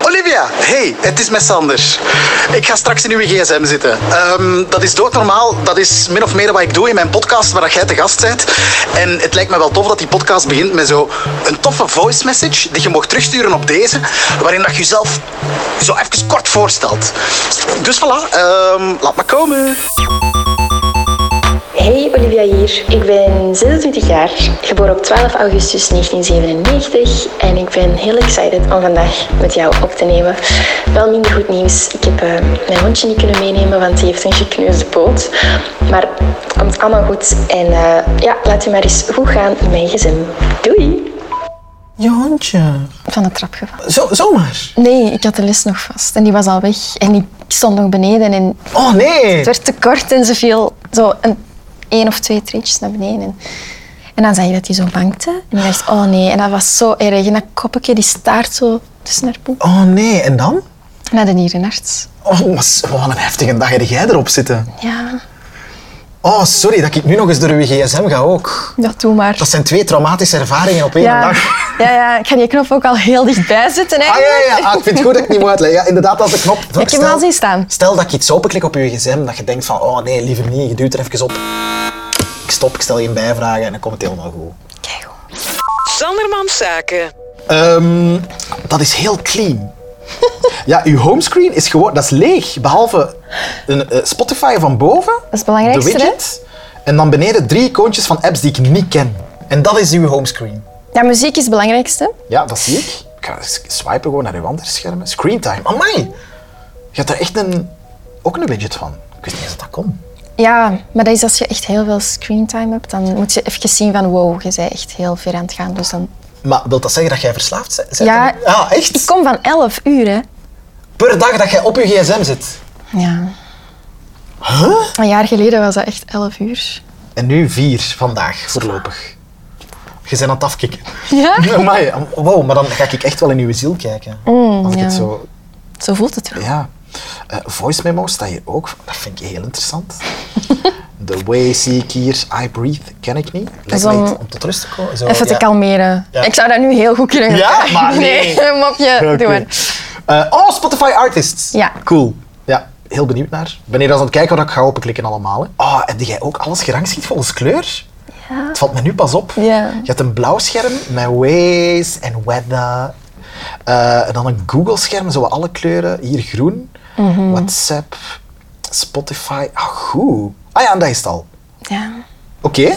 Olivia, hey, het is met Sander. Ik ga straks in uw gsm zitten. Ehm, dat is doodnormaal. Dat is min of meer wat ik doe in mijn podcast, waar dat jij te gast bent. En het lijkt me wel tof dat die podcast begint met zo een toffe voice message, die je mocht terugsturen op deze, waarin dat je jezelf zo even kort voorstelt. Dus voilà, ehm, laat maar komen. Hey, Olivia hier. Ik ben 26 jaar, geboren op 12 augustus 1997 en ik ben heel excited om vandaag met jou op te nemen. Wel minder goed nieuws, ik heb eh, mijn hondje niet kunnen meenemen, want die heeft een gekneusde poot. Maar het komt allemaal goed en eh, ja, laat u maar eens goed gaan in mijn gezin. Doei! Je hondje. Van de trap gevallen. Zo, zomaar. Nee, ik had de les nog vast en die was al weg en ik stond nog beneden en Oh nee. Het werd te kort en ze viel zo een, één of twee treetjes naar beneden. En, en dan zag je dat hij zo wankte. En ik dacht, oh nee. En dat was zo erg. En dat koppetje, die staart zo tussen haar poep. Oh nee. En dan? Naar de nierenarts. Oh, maar s- wat een heftige dag heb jij erop zitten. Ja, Oh, sorry dat ik nu nog eens door uw gsm ga ook. ja, doe maar. Dat zijn twee traumatische ervaringen op één ja. dag. Ja, ja, ik ga die knop ook al heel dichtbij zetten Ah ja, eigenlijk. ja, ja. Ah, ik vind het goed dat ik niet moet uitleggen. Ja, inderdaad, als de knop... Ik hem al zien staan. Stel dat ik iets openklik op uw gsm, dat je denkt van, oh nee, liever niet, je duwt er even op. Ik stop, ik stel geen bijvragen en dan komt het helemaal goed. Kijk, Sandermans Zaken. Ehm, dat is heel clean. Ja, uw homescreen is gewoon, dat is leeg. Behalve een eh, Spotify van boven. Dat is het belangrijkste, De widget. En dan beneden drie icoontjes van apps die ik niet ken. En dat is uw homescreen. ja, muziek is het belangrijkste. Ja, dat zie ik. Ik ga s- swipen gewoon naar uw andere schermen. Screentime. Amai! Je hebt daar echt een, ook een widget van. Ik wist niet eens dat dat kon. Ja, maar dat is als je echt heel veel screentime hebt, dan moet je even zien van wow, je bent echt heel ver aan het gaan. Dus dan... Maar wil dat zeggen dat jij verslaafd bent? Ja, ja, ah, echt? Ik kom van 11 uur, hè. Per dag dat jij op je gsm zit. Ja. Huh? Een jaar geleden was dat echt 11 uur. En nu vier vandaag, voorlopig. Je bent aan het afkicken. Ja? Amai, am- wow, maar dan ga ik echt wel in uw ziel kijken. Als ik Mm, ja. het zo... Zo voelt het wel. Ja. Eh, voice memo's staat hier ook. Dat vind ik heel interessant. The way zie ik hier. I breathe ken ik niet. Lijkt om- mij iets om tot rust te komen. Zo, Even te Oh, ja. kalmeren. Ja. Ik zou dat nu heel goed kunnen Ja, maar nee. nee mopje. Oké. Doe maar. Eh, oh, Spotify Artists. Ja. Cool. Ja, heel benieuwd naar. Ik ben hier als aan het kijken wat ik ga openklikken allemaal. Hè. Oh, heb jij ook alles gerangschikt volgens kleur? Ja. Het valt me nu pas op. Ja. Je hebt een blauw scherm met Waze en Weather. Eh, en dan een Google-scherm, zo wat alle kleuren. Hier groen. Mhm. WhatsApp, Spotify. Ah, goed. Ah ja, en dat is het al. Ja. Oké.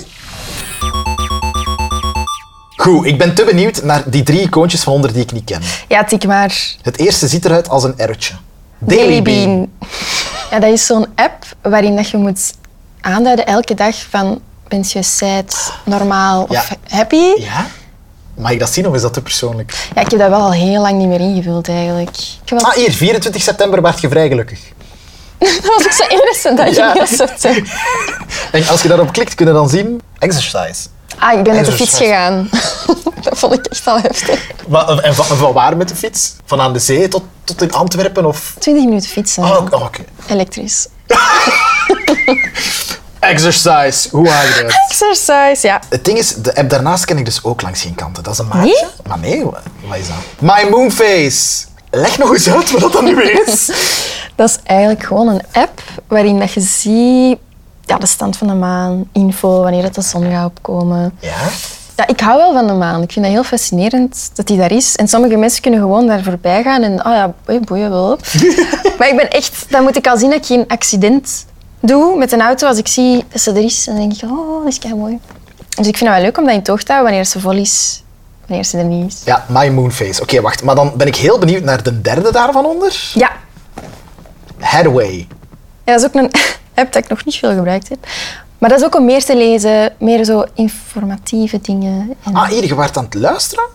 Goed, ik ben te benieuwd naar die drie icoontjes van onder die ik niet ken. ja, tik maar. Het eerste ziet eruit als een erwtje. Daily Bean. Ja, dat is zo'n app waarin dat je moet aanduiden elke dag van bent je sad, normaal of Ja. happy. Ja? Mag ik dat zien of is dat te persoonlijk? Ja, ik heb dat wel al heel lang niet meer ingevuld eigenlijk. Ik heb wel- Ah, hier, 24 september werd je vrij gelukkig. Dat was ook zo innocent dat je Ja. heel zot bent. En als je daarop klikt, kun je dan zien... Exercise. Ah, ik ben met de zo fiets zwart. gegaan. dat vond ik echt al heftig. Wa- eh, en van, en van waar met de fiets? Van aan de zee tot, tot in Antwerpen of... 20 minuten fietsen. Oh, oké. oké. Elektrisch. Exercise. Hoe haal je dat? Exercise, ja. Het ding is, de app daarnaast ken ik dus ook langs geen kanten. Dat is een maatje. Nee? Maar nee, wa- wat is dat? My Moonface. Leg nog eens uit wat dat dan nu weer is. Dat is eigenlijk gewoon een app waarin dat je ziet ja, de stand van de maan, info, wanneer dat de zon gaat opkomen. Ja? Ja, ik hou wel van de maan. Ik vind dat heel fascinerend dat die daar is. En sommige mensen kunnen gewoon daar voorbij gaan en, oh ja, boeien, boeien wel. maar ik ben echt, dan moet ik al zien dat ik geen accident doe met een auto. Als ik zie dat ze er is, dan denk ik, oh, dat is kei mooi. Dus ik vind het wel leuk om dat in toog te houden wanneer ze vol is, wanneer ze er niet is. Ja, My Moonface. Oké, wacht. Maar dan ben ik heel benieuwd naar de derde daarvan onder. Ja, Headway. Ja, dat is ook een app dat ik nog niet veel gebruikt heb. Maar dat is ook om meer te lezen, meer zo informatieve dingen. En Ah, hier, je werd aan het luisteren?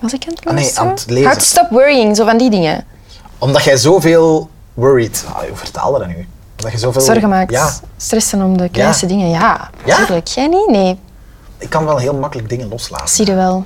was ik aan het nee, lezen? aan het lezen. How to stop worrying, zo van die dingen. Omdat jij zoveel worried... Ah, hoe vertaalde dat nu? Omdat je zoveel... Zorgen maakt, Oh, Ja, stressen om de kleinste dingen. Ja, Ja? natuurlijk. Jij niet? Nee, ik kan wel heel makkelijk dingen loslaten. zie je wel.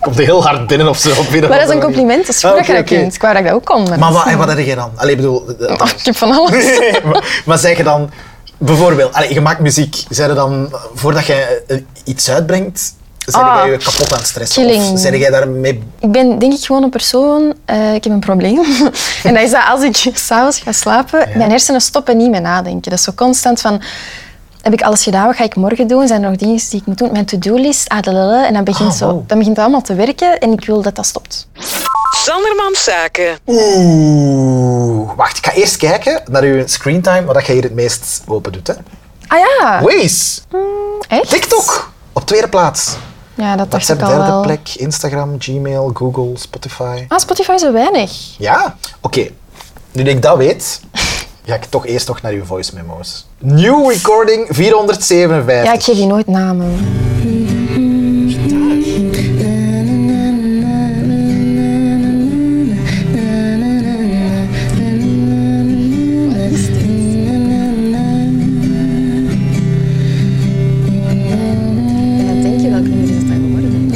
Komt heel hard binnen of zo. op een of Maar dat andere is een manier. compliment, dat is goed Ah, dat je oké, dat oké. kunt. Ik wou dat ik dat ook kon. Maar Maar, dat wat, is en niet. wat heb jij dan? Allee, ik bedoel... de- de- Oh, ik heb van alles. maar, maar zeg je dan... Bijvoorbeeld, allee, je maakt muziek. Zeg je dan, eh, voordat jij eh, iets uitbrengt, Zijn Ah. jij je kapot aan het stressen? Chilling. Of zijn jij daarmee... Ik ben denk ik gewoon een persoon, eh, ik heb een probleem. en dat is dat als ik s'avonds ga slapen, mijn hersenen stoppen niet met nadenken. Dat is zo constant van, heb ik alles gedaan, wat ga ik morgen doen? Zijn er nog dingen die ik moet doen? Mijn to-do-list, adalala. En dan begint, Ah, zo, wow. dan begint het allemaal te werken en ik wil dat dat stopt. Sandermans Zaken. Oeh. Wacht, ik ga eerst kijken naar je screentime, wat dat jij hier het meest open doet. Hè? Ah ja, Waze. echt? TikTok. Op tweede plaats. Ja, dat dacht WhatsApp ik al derde wel. plek. Instagram, Gmail, Google, Spotify. Ah, Spotify zo weinig. Ja, oké. Nu ik dat weet, ga ik toch eerst nog naar uw voice memos. New recording 457. Ja, ik geef je nooit namen. En dan denk je welk nummer is het dan geworden?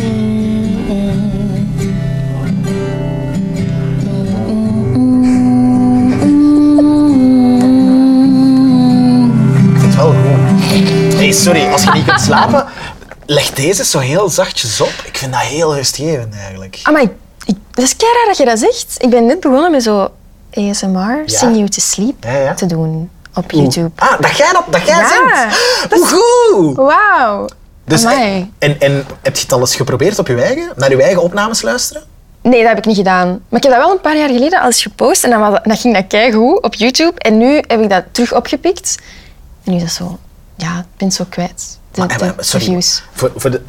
Het is wel goed. Hey, sorry, als je niet kunt slapen, leg deze zo heel zachtjes op. Ik vind dat heel rustgevend eigenlijk. Ah, maar ik, ik- dat is kei raar dat je dat zegt. Ik ben net begonnen met zo ASMR, Sing You To Sleep, Ja, ja. te doen op YouTube. Ah, dat jij dat, dat jij Ja, zingt. Hoe goed! Wauw. Dus, Amai. en, en heb je het al eens geprobeerd op je eigen? Naar je eigen opnames luisteren? Nee, dat heb ik niet gedaan. Maar ik heb dat wel een paar jaar geleden al eens gepost en dan, was dat- dan ging dat keigoed op YouTube. En nu heb ik dat terug opgepikt. En nu is dat zo... Ja, ik ben het zo kwijt. De, Maar, de maar, maar, eh, sorry, views. Voor, voor de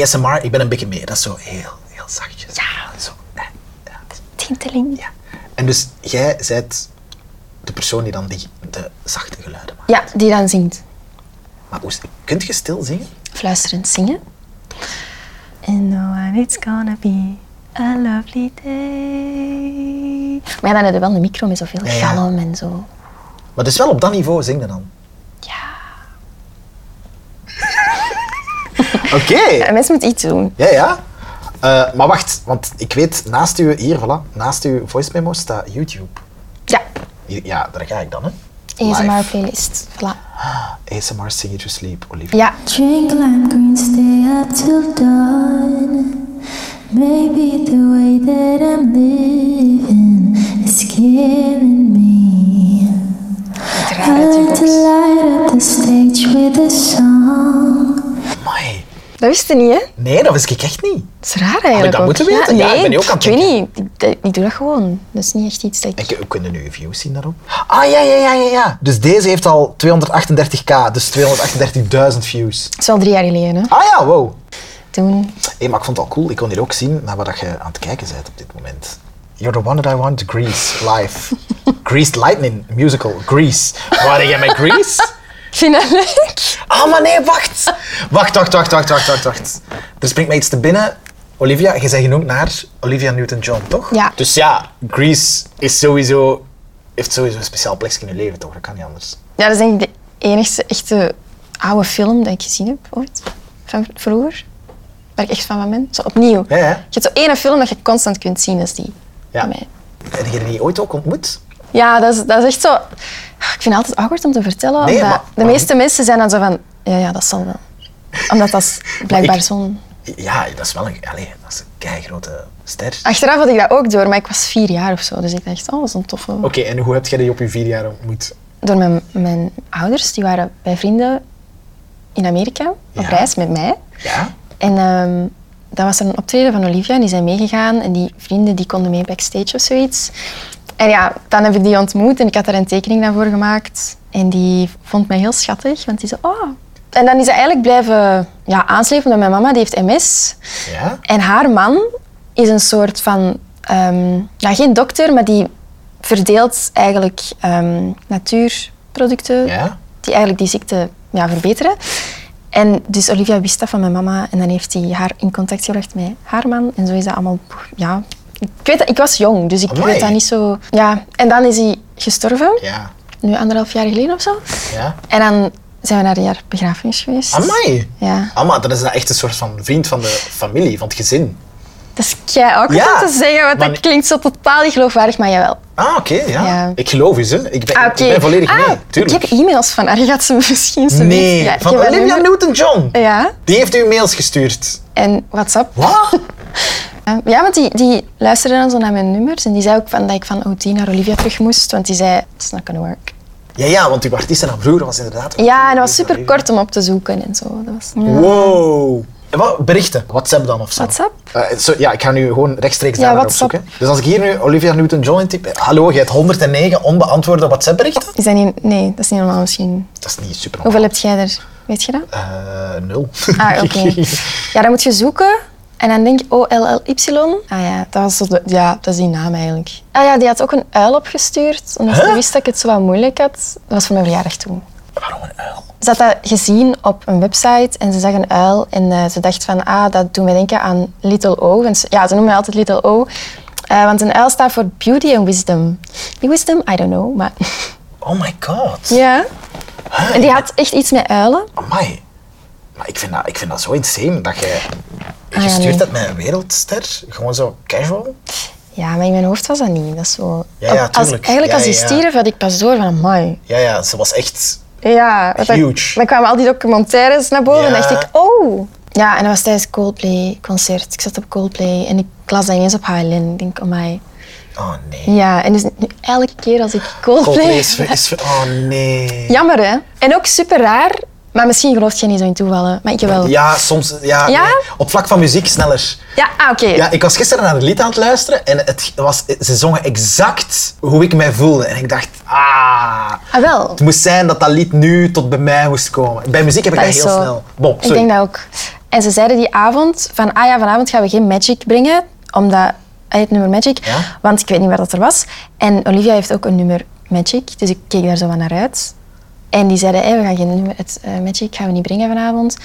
ASMR, ik ben een beetje mee. Dat is zo heel, heel zachtjes. Ja. Zo. eh, ja. Tinteling. Ja. En dus jij bent de persoon die dan die, de zachte geluiden maakt. Ja, die dan zingt. Maar hoe, kunt je stil zingen? Fluisterend zingen. And know what it's gonna be a lovely day. Maar ja, dan heb je wel een micro met zoveel Ja, ja. galm en zo. Maar dus wel op dat niveau zingen dan. Ja. Oké. En mensen moeten iets doen. Ja, ja. Eh, maar wacht, want ik weet, naast u hier, voilà, naast uw voice memo staat YouTube. Ja, Hier- Ja, daar ga ik dan, hè. ASMR Live. playlist. Voilà. ASMR Sing You To Sleep, Olivia. Ja, Drink lime green, stay up till dawn. Maybe the way that I'm living is killing me. I like to light up the stage with a song. Amai. dat wist je niet, hè? Nee, dat wist ik echt niet. Dat is raar eigenlijk. dat ook. moeten weten? Ja, ik nee, ben hier ook aan het Ik weet niet, ik, eh, ik- ik doe dat gewoon. Dat is niet echt iets dat ik... En we kunnen nu views zien daarop. Ah, ja, ja, ja, ja, ja. Dus deze heeft al 238k, dus 238.000 views. Het is wel drie jaar geleden, hè? Ah ja, wow. Toen. Hé, maar ik vond het al cool. Ik kon hier ook zien naar wat je aan het kijken bent op dit moment. You're the one that I want, Grease, live. Greased Lightning, musical, Grease. Waar jij met Grease? Ik vind dat leuk. Ah, maar nee, wacht. Wacht, wacht, wacht, wacht, wacht, wacht, wacht. Er springt mij iets te binnen. Olivia, je bent genoemd naar Olivia Newton-John, toch? Ja. Dus ja, Grease is sowieso, heeft sowieso een speciaal plekje in je leven, toch? Dat kan niet anders. Ja, dat is denk ik de enigste echte oude film die ik gezien heb ooit. Van vroeger. Waar ik echt van van ben. Zo opnieuw. Ja, ja. Je hebt zo ene film dat je constant kunt zien, dat is die. Ja. Van mij. Heb je die niet ooit ook ontmoet? Ja, dat is, dat is echt zo... Ik vind het altijd awkward om te vertellen. Nee, omdat maar- de maar- meeste mensen zijn dan zo van... Ja, ja, dat zal wel. Omdat dat is blijkbaar ik- zo'n... Ja, dat is wel een, allee, dat is een keigrote ster. Achteraf had ik dat ook door, maar ik was vier jaar of zo. Dus ik dacht, oh, dat is een toffe... Oké, en hoe heb jij die op je vier jaar ontmoet? Door mijn, mijn ouders, die waren bij vrienden in Amerika op Ja. reis met mij. Ja? En ehm dat was er een optreden van Olivia en die zijn meegegaan. En die vrienden die konden mee backstage of zoiets. En ja, dan heb ik die ontmoet en ik had daar een tekening daarvoor gemaakt. En die vond mij heel schattig, want die zei, oh... En dan is ze eigenlijk blijven ja, aanslepen met mijn mama, die heeft MS. Ja? En haar man is een soort van, ehm, ja, geen dokter, maar die verdeelt eigenlijk ehm, natuurproducten Ja? die eigenlijk die ziekte ja, verbeteren. En dus Olivia wist dat van mijn mama en dan heeft hij haar in contact gebracht met haar man. En zo is dat allemaal, ja... Ik, weet dat, ik was jong, dus ik Amai. weet dat niet zo... Ja, en dan is hij gestorven, Ja? nu anderhalf jaar geleden of zo. Ja? En dan zijn we naar de jaar begrafenis geweest. Amai! Ja. Amma, dat is dan echt een soort van vriend van de familie, van het gezin. Dat is kei awkward Ja, om te zeggen, want maar- dat klinkt zo totaal niet geloofwaardig, maar jawel. Ah, oké, ja. Ja. Ik geloof eens, hè. Ik ben, Ah, ik oké. ben volledig Ah, mee, tuurlijk. Ik heb e-mails van haar, je gaat ze misschien zo Nee, Ja, ik van heb haar Olivia nummer. Eh. Newton-John. Ja, Die heeft u mails gestuurd. en WhatsApp. Wat? Ah, Ja, want die, die luisterde dan zo naar mijn nummers en die zei ook van, dat ik van OT naar Olivia terug moest, want die zei, it's not gonna work. Ja, ja, want uw artiest en haar broer was inderdaad... Ja, en dat was super kort om op te zoeken en zo. Dat was, ja. Wow. En Wat, berichten? WhatsApp dan of zo? WhatsApp? Eh, zo- ja, ik ga nu gewoon rechtstreeks Ja, daar naar WhatsApp. opzoeken. Dus als ik hier nu Olivia Newton-John intyp... eh, Hallo, jij hebt 109 onbeantwoorde WhatsApp-berichten? Is dat niet... Nee, dat is niet normaal misschien. Dat is niet super Oh. Hoeveel heb jij er? Weet je dat? Eh, nul. Ah, oké. Ja, dan moet je zoeken. En dan denk je "Oh, O-L-L-Y. Ah ja, dat was zo de, ja, dat is die naam eigenlijk. Ah ja, die had ook een uil opgestuurd. Omdat ze Huh? wist dat ik het zo wat moeilijk had. Dat was voor mijn verjaardag toen. Waarom een uil? Ze had dat gezien op een website en ze zag een uil. En eh, ze dacht van, ah, dat doet mij denken aan Little O. En ze- ja, ze noemen mij altijd Little O. eh, want een uil staat voor beauty and wisdom. Die wisdom, I don't know, maar... Oh my god. Ja. En die had echt iets met uilen. Amai. Maar ik vind dat, ik vind dat zo insane dat jij... Je Ah, ja, stuurt nee. dat met een wereldster, gewoon zo casual. Ja, maar in mijn hoofd was dat niet. Dat is zo... Ja, ja, als, tuurlijk. eigenlijk Ja, als die ja, ja. stierf had ik pas door van, mooi. Ja, ja, ze was echt... Ja. want dan- Huge. Dan kwamen al die documentaires naar boven en Ja. dacht ik, oh. Ja, en dat was tijdens Coldplay concert. Ik zat op Coldplay en ik las dat ineens op HLN. Ik denk, oh my. Oh nee. Ja, en dus nu elke keer als ik Coldplay... Coldplay is, is- Oh nee. Jammer, hè? En ook super raar. Maar misschien gelooft jij niet zo in toevallen. Maar ik wel. Ja, soms... Ja, Ja? nee. Op vlak van muziek sneller. Ja, ah, oké. Ja, ik was gisteren naar een lied aan het luisteren en het was, ze zongen exact hoe ik mij voelde. En ik dacht, ah... Ah, wel. Het moest zijn dat dat lied nu tot bij mij moest komen. Bij muziek heb ik dat, is heel zo. snel. Bon, ik sorry. denk dat ook. En ze zeiden die avond van, ah ja, vanavond gaan we geen Magic brengen, omdat, ah, het nummer Magic, Ja? want ik weet niet waar dat er was. En Olivia heeft ook een nummer Magic, dus ik keek daar zo van naar uit. En die zeiden, hey, we gaan geen nummer, het eh, Magic gaan we niet brengen vanavond.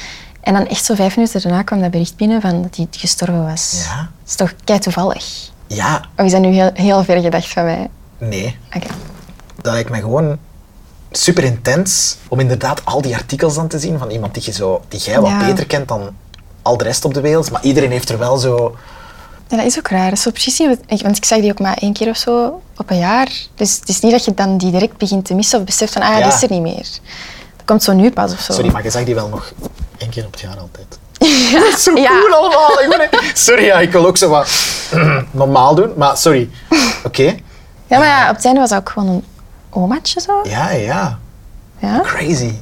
En dan echt zo vijf minuten daarna kwam dat bericht binnen van dat hij gestorven was. Ja. Dat is toch kei toevallig? Ja, Of is dat nu heel, heel ver gedacht van mij? nee. Oké. Dat lijkt me gewoon super intens om inderdaad al die artikels dan te zien van iemand die, je zo, die jij wat Ja. beter kent dan al de rest op de wereld. Maar iedereen heeft er wel zo... Ja, dat is ook raar. Dat is zo precies niet wat ik- want ik zag die ook maar één keer of zo op een jaar. Dus het is niet dat je dan die direct begint te missen of beseft van, ah ja, Ja. die is er niet meer. Dat komt zo nu pas of zo. Sorry, maar je zag die wel nog één keer op het jaar altijd. zo Cool allemaal. Ik ben- Sorry, ja, ik wil ook zo wat normaal doen, maar sorry. Oké. Ja, maar ja, op het einde was dat ook gewoon een omaatje zo. Ja, ja. Ja, Crazy.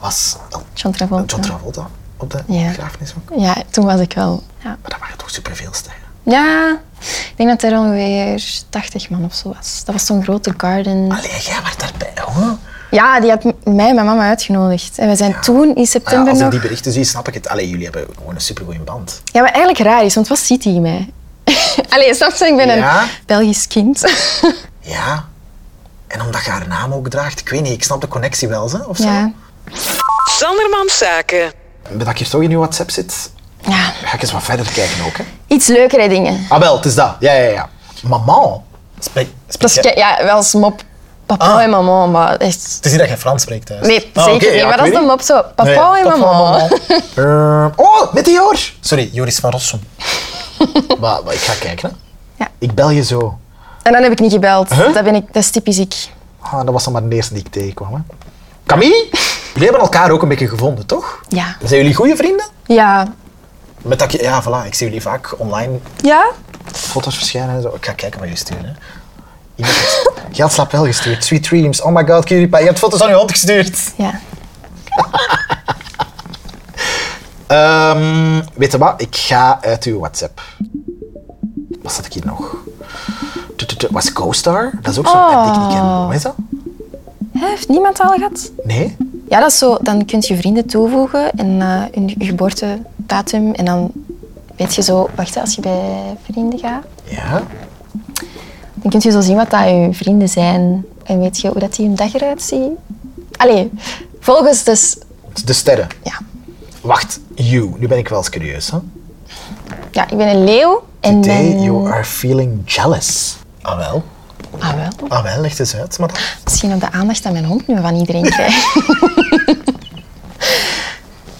Was John Travolta. John Travolta op de Ja. begrafenis ook? Ja, toen was ik wel. Ja. Maar dat waren toch superveel sterren. ja, ik denk dat er ongeveer 80 man of zo was. Dat was zo'n grote garden. Allee, jij was daarbij, hoor. Ja, die had m- mij en mijn mama uitgenodigd. En we zijn toen in Maar ja, Ah, september als ik nog... die berichten zie, snap ik het. Allee, jullie hebben gewoon een supergoeie band. Ja, maar eigenlijk raar is, want wat ziet hij in mij? Allee, snap je? Ik ben Ja? een Belgisch kind. Ja. En omdat je haar naam ook draagt, ik weet niet, ik snap de connectie wel, hè, of zo. ja. Sanderman Zaken. Dat ik hier toch in je WhatsApp zit, ja, ga ik eens wat verder kijken ook, hè. iets leukere dingen. Ah, wel, het is dat. Ja, ja, ja. Maman. Spreek, Dat is, ke- ja, wel eens mop. Papa Ah. en mama, maar echt... Het is niet dat je Frans spreekt Ah, thuis. Nee, zeker niet. maar dat is de mop zo. Papa en mama. Eh, oh, met die hoor. Sorry, Joris van Rossum. maar, maar ik ga kijken, hè. Ja. Ik bel je zo. En dan heb ik niet gebeld. Dat, ben ik, dat is typisch ik. Ah, dat was dan maar de eerste die ik tegenkwam. Hè. Camille, jullie hebben elkaar ook een beetje gevonden, toch? Ja. Zijn jullie goede vrienden? Ja. Met dat, je- ja, voilà, ik zie jullie vaak online Ja? foto's verschijnen en zo. Ik ga kijken wat jullie sturen. Hè. Iemand heeft- Jij had slap wel gestuurd. Sweet Dreams. Oh my god, cutie pie. Je hebt foto's aan je hond gestuurd. Ja. Ehm, weet je wat? Ik ga uit uw WhatsApp. Wat zat ik hier nog? Tu, tu, tu. Was CoStar? Dat is ook zo'n app die ik niet ken. Wat is dat? Hè, heeft niemand al gehad? Nee? Ja, dat is zo. Dan kun je vrienden toevoegen en eh, hun je geboortedatum. En dan weet je zo... Wacht, hè, als je bij vrienden gaat... Ja? Dan kun je zo zien wat dat je vrienden zijn. En weet je hoe dat die hun dag eruit zien. Allee, volgens dus... De sterren. Ja, Wacht, you. Nu ben ik wel eens curieus, hè? ja ik ben een leeuw. En Today ben- you are feeling jealous. Ah wel. Ah wel. Ah wel, ligt eens uit. Maar... Misschien op de aandacht dat mijn hond nu van iedereen krijgt.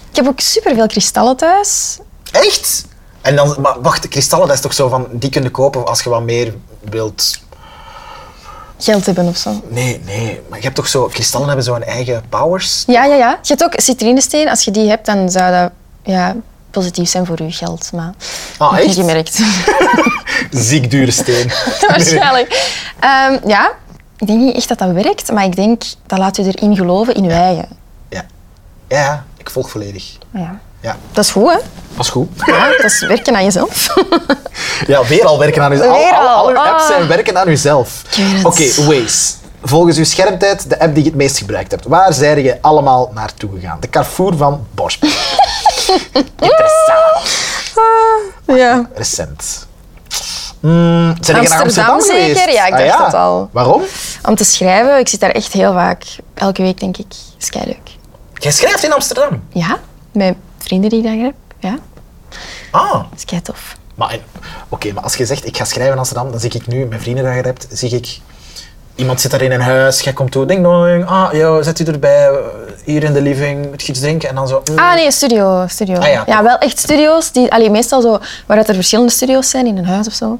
ik heb ook superveel kristallen thuis. Echt? En dan, maar wacht, kristallen, dat is toch zo van, die kun je kopen als je wat meer wilt. Geld hebben of zo. Nee, nee, maar je hebt toch zo, kristallen hebben zo hun eigen powers. Ja, ja, ja. Je hebt ook citrinesteen. Als je die hebt, dan zou dat ja, positief zijn voor je geld. Maar Ah, dat heb echt? je gemerkt. Ziek dure steen. Waarschijnlijk. Ehm, ja, ik denk niet echt dat dat werkt, maar ik denk dat laat je erin geloven, in je eigen. Ja. ja, ik volg volledig. Ja. Ja, Dat is goed, hè? was goed. Ja, dat is werken aan jezelf. Ja, weer al werken aan uzelf. Al, Weer al, al, al uw apps ah. zijn werken aan uzelf. weet het. Oké, Waze. Volgens uw schermtijd, de app die je het meest gebruikt hebt. Waar zijn je allemaal naartoe gegaan? De Carrefour van Bosch. Interessant. ja. Recent. Mm, zijn je naar Amsterdam Amsterdam geweest? Ah, zeker? Ja, ik dacht dat al. Waarom? Om te schrijven, ik zit daar echt heel vaak. Elke week, denk ik. is leuk. Jij schrijft in Amsterdam. Ja, mijn vrienden die ik daar heb. Ja, Ah, is kei tof. maar, en- oké, maar als je zegt ik ga schrijven in Amsterdam, dan zie ik nu, mijn vrienden daar hebt, zie ik iemand zit daar in een huis, jij komt toe, ding dong, ah, yo, zet u erbij, eh, hier in de living, moet je iets drinken en dan zo. mm. Ah nee, studio. studio. Ah, ja. wel echt studio's. Die, allee, meestal zo, waaruit er verschillende studio's zijn in een huis of zo.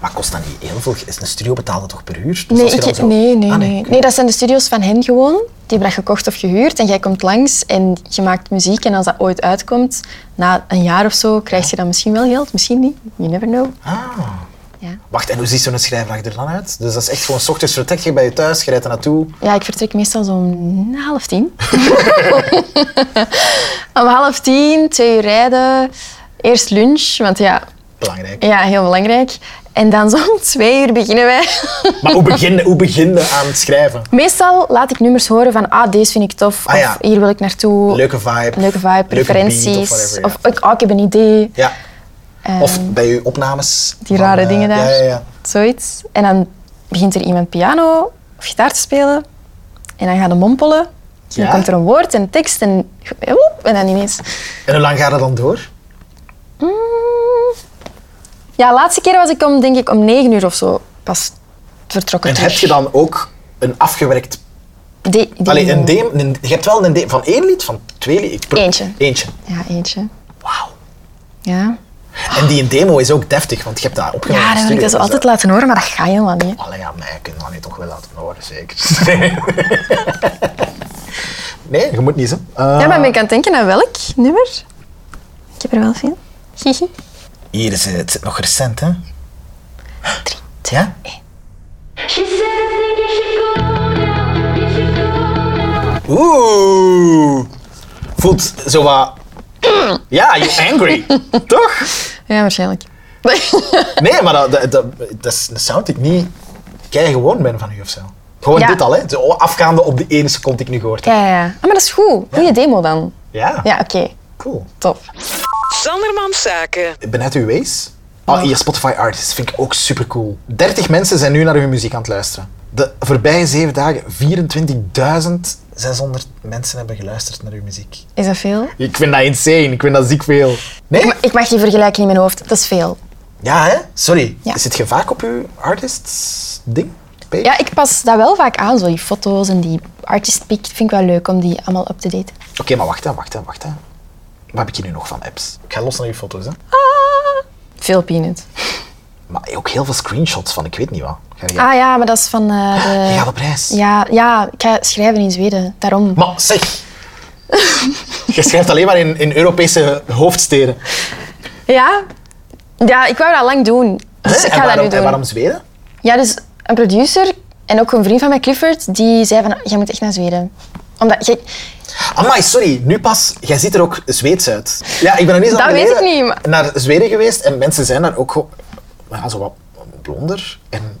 Maar kost dat niet heel veel? Is een studio betaalde toch per uur? Dus Nee, als je ik- dan zo- nee, nee, Ah, nee. Nee, dat zijn de studio's van hen gewoon. Die hebben dat gekocht of gehuurd. En jij komt langs en je maakt muziek. En als dat ooit uitkomt, na een jaar of zo, krijg je dan misschien wel geld. Misschien niet. You never know. Ah. Ja. Wacht, en hoe ziet zo'n schrijfdag er dan uit? Dus dat is echt gewoon, s ochtends vertrek je bij je thuis, je rijdt er naartoe. Ja, ik vertrek meestal zo om half tien. om half tien, twee uur rijden. Eerst lunch, want ja, Belangrijk. ja heel belangrijk. En dan zo om twee uur beginnen wij. Maar hoe begin, hoe begin je aan het schrijven? Meestal laat ik nummers horen van, ah, deze vind ik tof. Ah, ja. Of hier wil ik naartoe. Leuke vibe. Leuke vibe, leuke preferenties. beat of whatever, ja. Of ik, oh, ik heb een idee. ja. Eh, Of bij je opnames. die van, rare eh, dingen daar. Ja, ja, ja. Zoiets. En dan begint er iemand piano of gitaar te spelen. En dan gaan de mompelen. En dan Ja. komt er een woord en een tekst en, woep, en dan ineens... En hoe lang gaat dat dan door? Mm. Ja, laatste keer was ik om, denk ik, om negen uur of zo pas vertrokken. En terug. heb je dan ook een afgewerkt... De- demo. Allee, een demo... een- je hebt wel een demo van één lied, van twee lied. ik- Eentje. Eentje. Ja, eentje. Wauw. Ja. En die demo is ook deftig, want je hebt dat opgenomen. Ja, in de dan wil ik studio, dat zo dus altijd laten horen, maar dat ga je helemaal niet. hè. Allee, ja, mij kunnen dat nu toch wel laten horen, zeker. nee, je moet niet zo. Ja, maar ben Ah. ik aan het denken aan welk nummer? Ik heb er wel veel. Hihi. Hier is het, het zit nog recent, hè? Drie, ja? She said, I think you should go now. You should go now. Oeh. Voelt zo wat... Ja, you're angry. Toch? Ja, waarschijnlijk. Nee, maar dat, dat, dat, dat is een sound die ik niet kei gewoon ben van u of zo. Gewoon Ja. dit al, hè? Zo afgaande op de ene seconde die ik nu gehoord heb. Ja, ja, ja. Ah, maar dat is goed. Goeie demo dan. Ja, Ja, oké. cool. Top. Sandermans Zaken. Ik ben net uw wees. Ah, je Spotify Artists vind ik ook super cool. 30 mensen zijn nu naar uw muziek aan het luisteren. De voorbije zeven dagen 24.600 mensen hebben geluisterd naar uw muziek. Is dat veel? Ik vind dat insane. Ik vind dat ziek veel. Nee? Ik mag die vergelijking in mijn hoofd. Dat is veel. Ja, hè? Sorry. Ja. Zit je vaak op uw artists ding? Page? Ja, ik pas dat wel vaak aan, zo die foto's en die artist pic. Vind ik wel leuk om die allemaal up te daten. Oké, maar wacht, hè, wacht, hè, wacht. Hè. Wat heb ik hier nu nog van apps? Ik ga los naar uw foto's, hè? Veel peanut. Maar ook heel veel screenshots van ik weet niet wat. Ga jij... Ah ja, maar dat is van eh, de... Je gaat op reis. Ja, ja, ik ga schrijven in Zweden. Daarom. Maar zeg! je schrijft alleen maar in, in Europese hoofdsteden. Ja? Ja, ik wou dat lang doen. Dus Hè? ik en, ga waarom, dat nu en doen. waarom Zweden? Ja, dus een producer en ook een vriend van mij, Clifford, die zei van, jij moet echt naar Zweden. Omdat, jij- Amai, sorry, nu pas. Jij ziet er ook Zweeds uit. Ja, ik ben er niet zo Dat lang weet ik geleden niet, maar- naar Zweden geweest en mensen zijn daar ook gewoon ja, zo wat blonder. En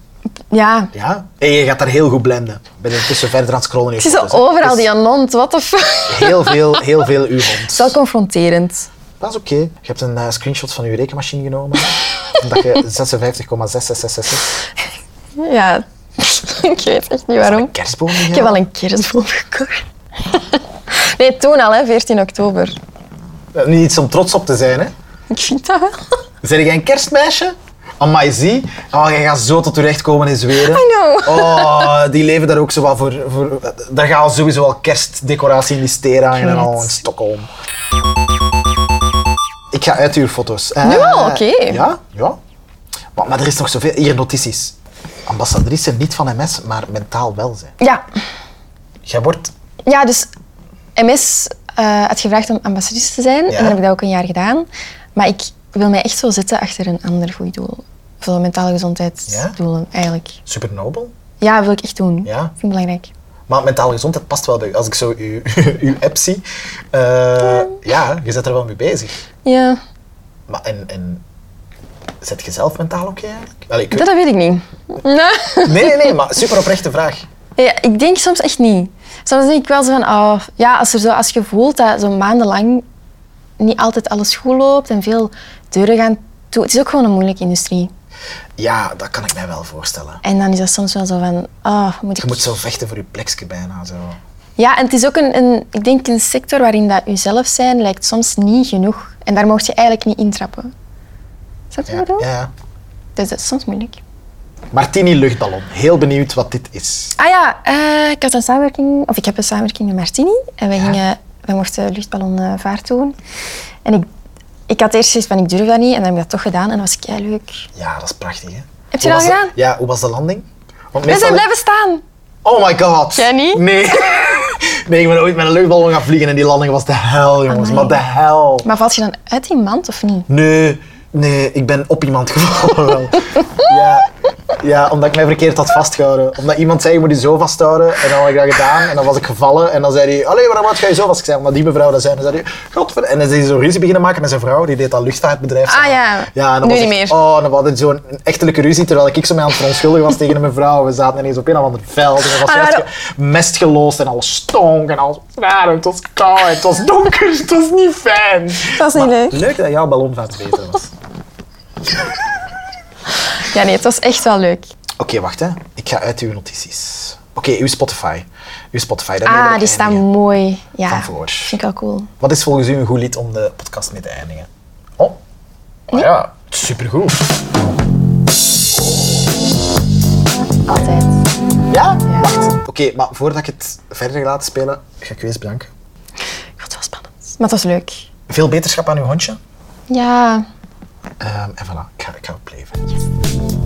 ja, ja, en je gaat daar heel goed blenden. Ik ben intussen verder aan het scrollen. in het is je zo foto's, hè. overal Het is die anont, what the fuck. Heel veel, heel veel u-hond. Zo confronterend. Dat is oké. Je hebt een eh, screenshot van je rekenmachine genomen. omdat je 56,6666 Ja, ik weet echt niet waarom. kerstboom in Ik heb al een kerstboom gekocht. Nee, toen al, hè, 14 oktober. Eh, Niet iets om trots op te zijn, hè? Ik vind dat wel. Zijn jij een kerstmeisje? Amai, zie. Oh, jij gaat zo tot terecht komen in Zweden. I know. Oh, die leven daar ook zo wat voor. voor daar gaan sowieso wel kerstdecoratie in die steren hangen en al in Klopt. Stockholm. Ik ga uit uw foto's. Eh, Nu al? Oké. Ja, ja. Maar, maar er is nog zoveel. Hier, notities. Ambassadrice niet van MS, maar mentaal welzijn. Ja, Jij wordt... ja dus MS eh had gevraagd om ambassadrice te zijn. En dan heb ik dat ook een jaar gedaan. Maar ik wil mij echt zo zetten achter een ander goed doel. Voor mentale gezondheidsdoelen, eigenlijk. Supernobel. Ja, wil ik echt doen. Ja. Vind ik belangrijk. Maar mentale gezondheid past wel bij u. Als ik zo uw, uw app zie, eh, ja, je zit er wel mee bezig. Ja, Maar en, en zet je zelf mentaal oké eigenlijk? Wel, ik weet- dat, dat weet ik niet. Nee, nee, nee, maar super oprechte vraag. Ja, ik denk soms echt niet. Soms denk ik wel zo van, oh, ja, als, er zo, als je voelt dat zo maandenlang niet altijd alles goed loopt en veel deuren gaan toe. Het is ook gewoon een moeilijke industrie. Ja, dat kan ik mij wel voorstellen. En dan is dat soms wel zo van, oh, moet ik... Je moet zo vechten voor je plekje bijna. Zo. Ja, en het is ook een, een, ik denk een sector waarin dat jezelf zijn lijkt soms niet genoeg. En daar mocht je eigenlijk niet intrappen. Snap je wat Ja, ik bedoel? ja. Dus dat is soms moeilijk. Martini Luchtballon. Heel benieuwd wat dit is. Ah ja, eh, ik had een samenwerking, of ik heb een samenwerking met Martini. En wij, gingen, wij mochten luchtballonvaart doen. En ik, ik had eerst gezegd van ik durf dat niet. En dan heb ik dat toch gedaan en dat was kei leuk. Ja, dat is prachtig, hè? Heb je Hoe dat was de- gedaan? Ja, hoe was de landing? Want We meestal- zijn blijven staan. Oh my god. Jij niet? Nee. nee, ik ben ooit met een luchtballon gaan vliegen en die landing was de hel, jongens. Amai. Maar de hel. Maar valt je dan uit die mand of niet? Nee, nee, ik ben op iemand gevallen. wel. ja, ja, omdat ik mij verkeerd had vastgehouden. Omdat iemand zei, je moet je zo vasthouden. En dan had ik dat gedaan en dan was ik gevallen. En dan zei hij, allee, waarom had jij je zo vast? Ik zei, omdat die mevrouw dat zei. En dan zei hij, godver... En dan is hij zo ruzie beginnen maken met zijn vrouw. Die deed dat luchtvaartbedrijf. Ah, ja. ja en dan Nu was niet echt- meer. Oh, en dan was het zo'n echtelijke ruzie. Terwijl ik zo mij aan het verontschuldigen was tegen een mevrouw. We zaten ineens op een of ander veld. En er was Ah, juist waarom- ge- mest geloosd en alles stonk. En alles raar. Het was koud. Het was donker. Het was niet fijn. Dat was niet leuk. Leuk dat jouw ballonvaart beter was. Ja, nee, het was echt wel leuk. Oké, wacht hè. Ik ga uit uw notities. Oké, uw Spotify. Uw Spotify. daarmee wil Ah, ik die staan eindigen. mooi. Ja, Van voor. vind ik wel cool. Wat is volgens u een goed lied om de podcast mee te eindigen? Oh, Ah ja, supergoed. Altijd. Ja? Wacht. Oké, maar voordat ik het verder laat spelen, ga ik u eens bedanken. Ik vond het wel spannend. Maar het was leuk. Veel beterschap aan uw hondje. Ja, Ehm, en voilà, ik ga, ik ga opleven.